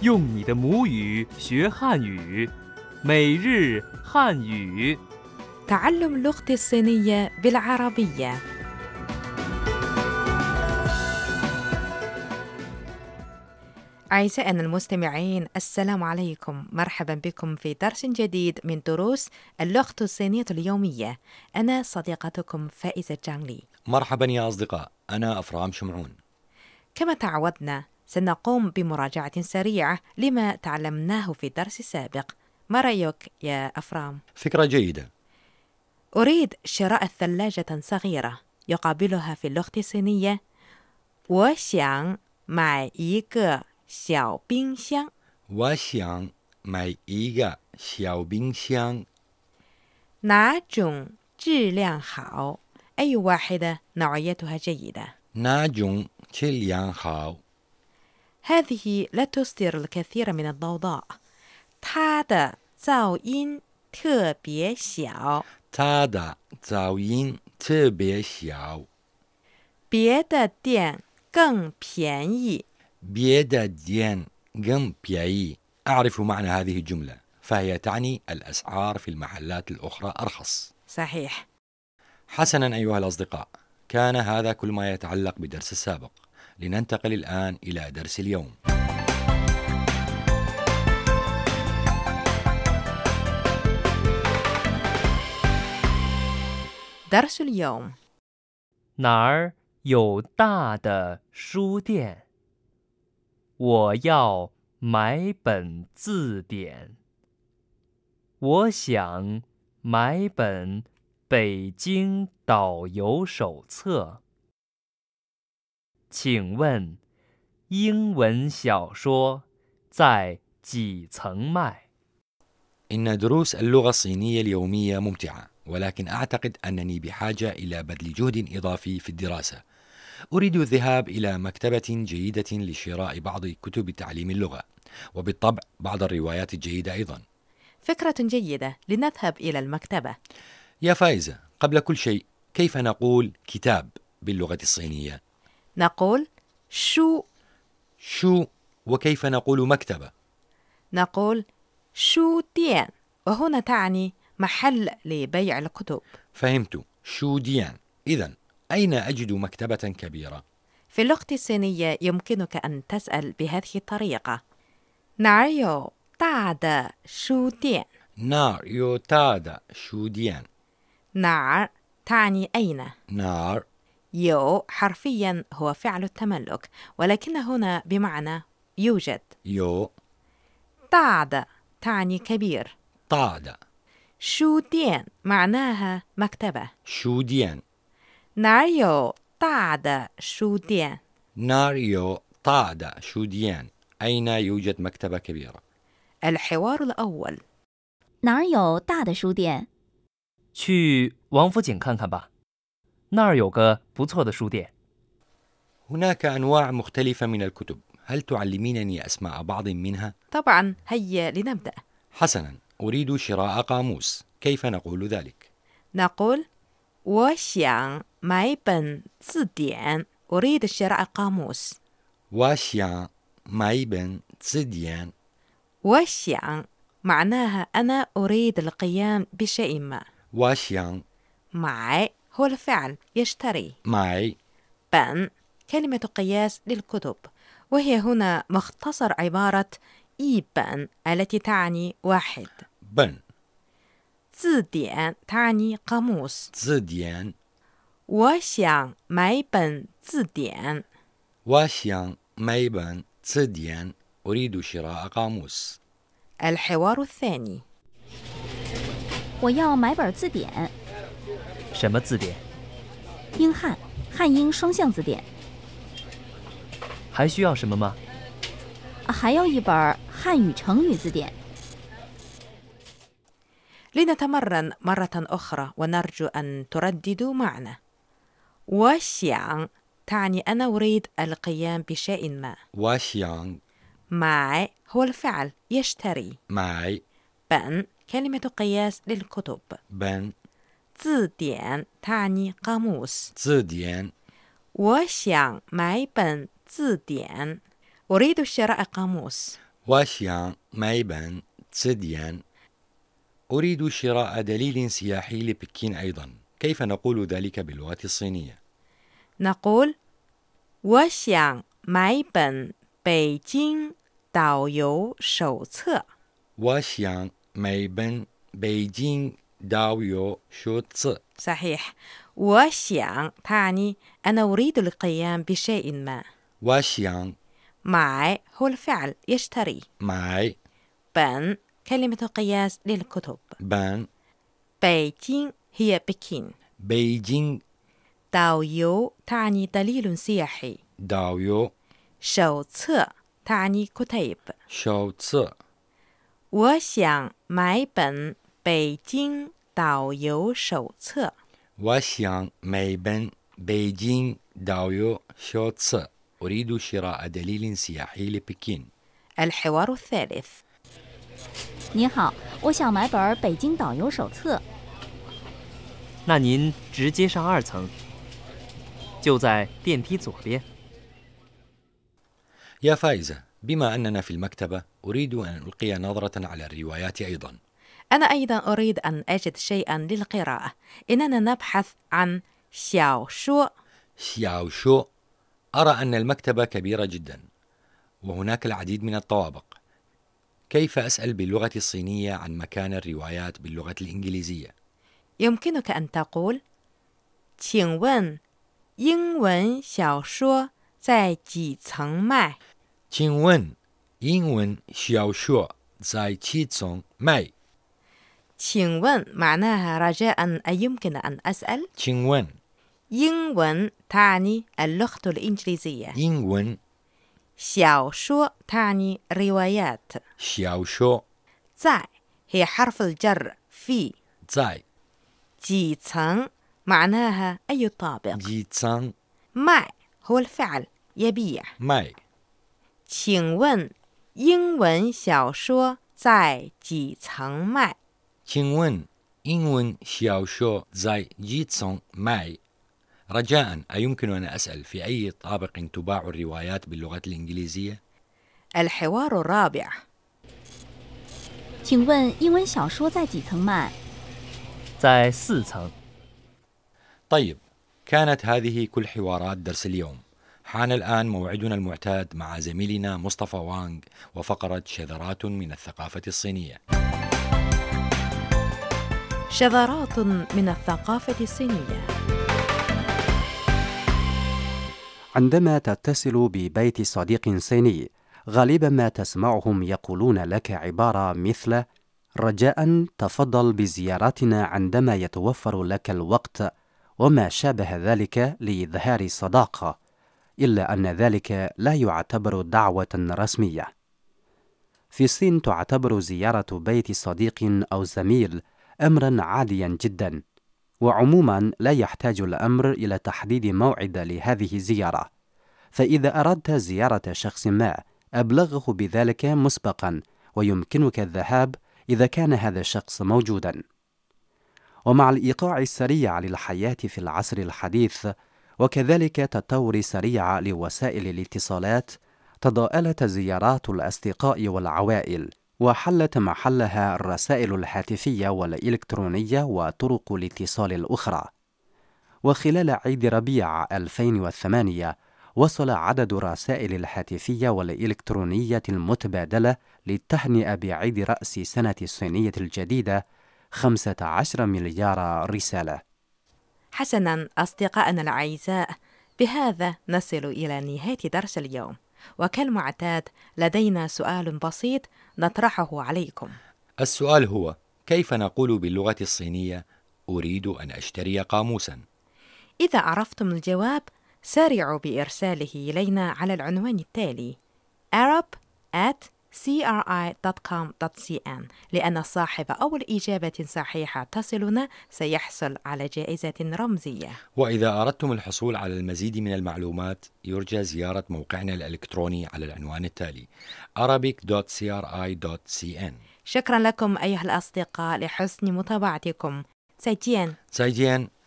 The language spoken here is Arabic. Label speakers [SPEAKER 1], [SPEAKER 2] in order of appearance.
[SPEAKER 1] 用你的母语学汉语，每日汉语。
[SPEAKER 2] تعلم لغتي الصينية بالعربية أعزائنا المستمعين السلام عليكم مرحبا بكم في درس جديد من دروس اللغة الصينية اليومية أنا صديقتكم فائزة جانلي
[SPEAKER 3] مرحبا يا أصدقاء أنا أفرام شمعون
[SPEAKER 2] كما تعودنا سنقوم بمراجعة سريعة لما تعلمناه في الدرس السابق ما رأيك يا أفرام؟
[SPEAKER 3] فكرة جيدة
[SPEAKER 2] أريد شراء ثلاجة صغيرة يقابلها في اللغة الصينية 我想买一个小冰箱
[SPEAKER 3] واشيان ماي إيغا شياو بينغ شيان
[SPEAKER 2] 哪种质量好 أي واحدة نوعيتها جيدة
[SPEAKER 3] ناجون تشيليان هاو
[SPEAKER 2] هذه لا تصدر الكثير من الضوضاء 它的噪音特别小
[SPEAKER 3] تادا زاوين تبي شياو
[SPEAKER 2] 别的店更便宜
[SPEAKER 3] بيدا ديان جم بياي أعرف معنى هذه الجملة فهي تعني الأسعار في المحلات الأخرى أرخص
[SPEAKER 2] صحيح
[SPEAKER 3] حسنا أيها الأصدقاء كان هذا كل ما يتعلق بدرس السابق لننتقل الآن إلى درس اليوم
[SPEAKER 2] درس اليوم
[SPEAKER 1] 哪儿有大的书店？我要买本字典。我想买本《北京导游手册》。请问，英文小说在几层卖？
[SPEAKER 3] إن دروس اللغة الصينية اليومية ممتعة، ولكن أعتقد أنني بحاجة إلى بذل جهد إضافي في الدراسة. أريد الذهاب إلى مكتبة جيدة لشراء بعض كتب تعليم اللغة، وبالطبع بعض الروايات الجيدة أيضا.
[SPEAKER 2] فكرة جيدة لنذهب إلى المكتبة
[SPEAKER 3] يا فائزة، قبل كل شيء، كيف نقول كتاب باللغة الصينية؟
[SPEAKER 2] نقول شو
[SPEAKER 3] شو وكيف نقول مكتبة؟
[SPEAKER 2] نقول شو ديان وهنا تعني محل لبيع الكتب
[SPEAKER 3] فهمت، شو ديان. إذا أين أجد مكتبة كبيرة؟
[SPEAKER 2] في اللغة الصينية يمكنك أن تسأل بهذه الطريقة 哪儿有大的书店
[SPEAKER 3] نار يوتادا شو ديان.
[SPEAKER 2] 哪儿 تعني أين
[SPEAKER 3] نار
[SPEAKER 2] يو حرفيا هو فعل التملك ولكن هنا بمعنى يوجد
[SPEAKER 3] يو
[SPEAKER 2] دعد تعني كبير
[SPEAKER 3] طادا
[SPEAKER 2] شو ديان معناها مكتبة
[SPEAKER 3] شو ديان
[SPEAKER 2] ناريو دعد شو ديان
[SPEAKER 3] ناريو طادا شو ديان أين يوجد مكتبة كبيرة؟
[SPEAKER 2] الحوار الأول
[SPEAKER 4] 哪儿有大的书店？
[SPEAKER 1] 去王府井看看吧，那儿有个不错的书店。
[SPEAKER 3] هناك أنواع مختلفة من الكتب هل تعلمينني أسماء بعض منها؟
[SPEAKER 2] طبعا هيا لنبدأ
[SPEAKER 3] حسنا أريد شراء قاموس كيف نقول ذلك؟
[SPEAKER 2] نقول 我想买本字典 أريد شراء قاموس
[SPEAKER 3] واشيا مايبن تسديان
[SPEAKER 2] 我想 معناها أنا أريد القيام بشيء ما
[SPEAKER 3] واشيا
[SPEAKER 2] معي هو الفعل يشتري
[SPEAKER 3] معي
[SPEAKER 2] بن كلمة قياس للكتب وهي هنا مختصر عبارة إي بن التي تعني واحد
[SPEAKER 3] بن
[SPEAKER 2] 字典 تعني قاموس
[SPEAKER 3] تسديان
[SPEAKER 2] 我想买本字典
[SPEAKER 3] واشيا مايبن تسديان أريد شراء قاموس
[SPEAKER 2] الحوار الثاني
[SPEAKER 4] 我要买本字典，
[SPEAKER 1] 什么字典？
[SPEAKER 4] 英汉汉英双向字典，
[SPEAKER 1] 还需要什么吗？
[SPEAKER 4] 啊还要一本汉语成语字典。
[SPEAKER 2] لنتمرن مرة أخرى ونرجو أن ترددوا معنا وشيان تعني أنا أريد القيام بشيء ما
[SPEAKER 3] واشيا
[SPEAKER 2] معي هو الفعل يشتري
[SPEAKER 3] معي
[SPEAKER 2] بن كلمة قياس للكتب
[SPEAKER 3] بن
[SPEAKER 2] 字典 تعني قاموس
[SPEAKER 3] 字典
[SPEAKER 2] وشيان معي بن 字典 أريد شراء قاموس
[SPEAKER 3] واشيان مايبان تسديان أريد شراء دليل سياحي لبكين أيضا كيف نقول ذلك باللغة الصينية؟
[SPEAKER 2] نقول 我想买本北京导游手册。
[SPEAKER 3] واشيان مايبان بيجين داويو شو تس
[SPEAKER 2] صحيح وشيان تعني أنا أريد القيام بشيء ما
[SPEAKER 3] واشيان
[SPEAKER 2] معي هو الفعل يشتري
[SPEAKER 3] معي
[SPEAKER 2] بن كلمة قياس للكتب
[SPEAKER 3] بان
[SPEAKER 2] بيجين هي بكين
[SPEAKER 3] بيجين
[SPEAKER 2] داويو تعني دليل سياحي
[SPEAKER 3] داويو
[SPEAKER 2] شو تعني كتيب
[SPEAKER 3] شو تس
[SPEAKER 2] 我想买本北京导游手册。
[SPEAKER 3] واشيان مايبان بيجين داويو شو تس أريد شراء دليل سياحي لبكين
[SPEAKER 2] الحوار الثالث
[SPEAKER 4] 您好，我想买本儿《北京导游手册》。
[SPEAKER 1] 那您直接上二层，就在电梯左边。
[SPEAKER 3] يا فائزة بما أننا في المكتبة أريد أن ألقي نظرة على الروايات أيضا
[SPEAKER 2] أنا أيضا أريد أن أجد شيئا للقراءة إننا نبحث عن شاو شو
[SPEAKER 3] شياو شو أرى أن المكتبة كبيرة جدا وهناك العديد من الطوابق كيف أسأل باللغة الصينية عن مكان الروايات باللغة الإنجليزية؟
[SPEAKER 2] يمكنك أن تقول 请问英文小说在几层卖
[SPEAKER 3] تشينون ينون شياو شو زاي تشي تسونغ ماي
[SPEAKER 2] 请问 معناها رجاء أيمكن أن أسأل
[SPEAKER 3] تشينون
[SPEAKER 2] ينون تعني اللغة الإنجليزية
[SPEAKER 3] ينون
[SPEAKER 2] شاو شو تعني روايات
[SPEAKER 3] شياو شو
[SPEAKER 2] 在 هي حرف الجر في
[SPEAKER 3] زاي
[SPEAKER 2] 几层 معناها أي طابق
[SPEAKER 3] جي تسونغ
[SPEAKER 2] مع هو الفعل يبيع
[SPEAKER 3] ماي
[SPEAKER 2] 请问英文小说在几层卖？
[SPEAKER 3] تشينون ينون شياو شو زاي جي تسونغ ماي رجاء أيمكن أن أسأل في أي طابق تباع الروايات باللغة الإنجليزية؟
[SPEAKER 2] الحوار الرابع
[SPEAKER 4] 请问英文小说在几层卖？
[SPEAKER 1] 在四层，
[SPEAKER 3] طيب كانت هذه كل حوارات درس اليوم حان الآن موعدنا المعتاد مع زميلنا مصطفى وانغ وفقرة شذرات من الثقافة الصينية
[SPEAKER 2] شذرات من الثقافة الصينية
[SPEAKER 5] عندما تتصل ببيت صديق صيني غالبا ما تسمعهم يقولون لك عباره مثل رجاء تفضل بزيارتنا عندما يتوفر لك الوقت وما شابه ذلك لاظهار الصداقه الا ان ذلك لا يعتبر دعوه رسميه في الصين تعتبر زياره بيت صديق او زميل امرا عاديا جدا وعموما لا يحتاج الامر الى تحديد موعد لهذه الزياره فاذا اردت زياره شخص ما ابلغه بذلك مسبقا ويمكنك الذهاب اذا كان هذا الشخص موجودا ومع الايقاع السريع للحياه في العصر الحديث وكذلك تطور سريع لوسائل الاتصالات تضاءلت زيارات الاصدقاء والعوائل وحلت محلها الرسائل الهاتفية والإلكترونية وطرق الاتصال الأخرى. وخلال عيد ربيع 2008 وصل عدد الرسائل الهاتفية والإلكترونية المتبادلة للتهنئة بعيد رأس سنة الصينية الجديدة 15 مليار رسالة.
[SPEAKER 2] حسنا أصدقائنا الأعزاء بهذا نصل إلى نهاية درس اليوم وكالمعتاد لدينا سؤال بسيط نطرحه عليكم
[SPEAKER 3] السؤال هو كيف نقول باللغة الصينية أريد أن أشتري قاموسا
[SPEAKER 2] إذا عرفتم الجواب سارعوا بإرساله إلينا على العنوان التالي arab at cri.com.cn لأن صاحب أول إجابة صحيحة تصلنا سيحصل على جائزة رمزية
[SPEAKER 3] وإذا أردتم الحصول على المزيد من المعلومات يرجى زيارة موقعنا الإلكتروني على العنوان التالي arabic.cri.cn
[SPEAKER 2] شكرا لكم أيها الأصدقاء لحسن متابعتكم سيتيان
[SPEAKER 3] سايجيان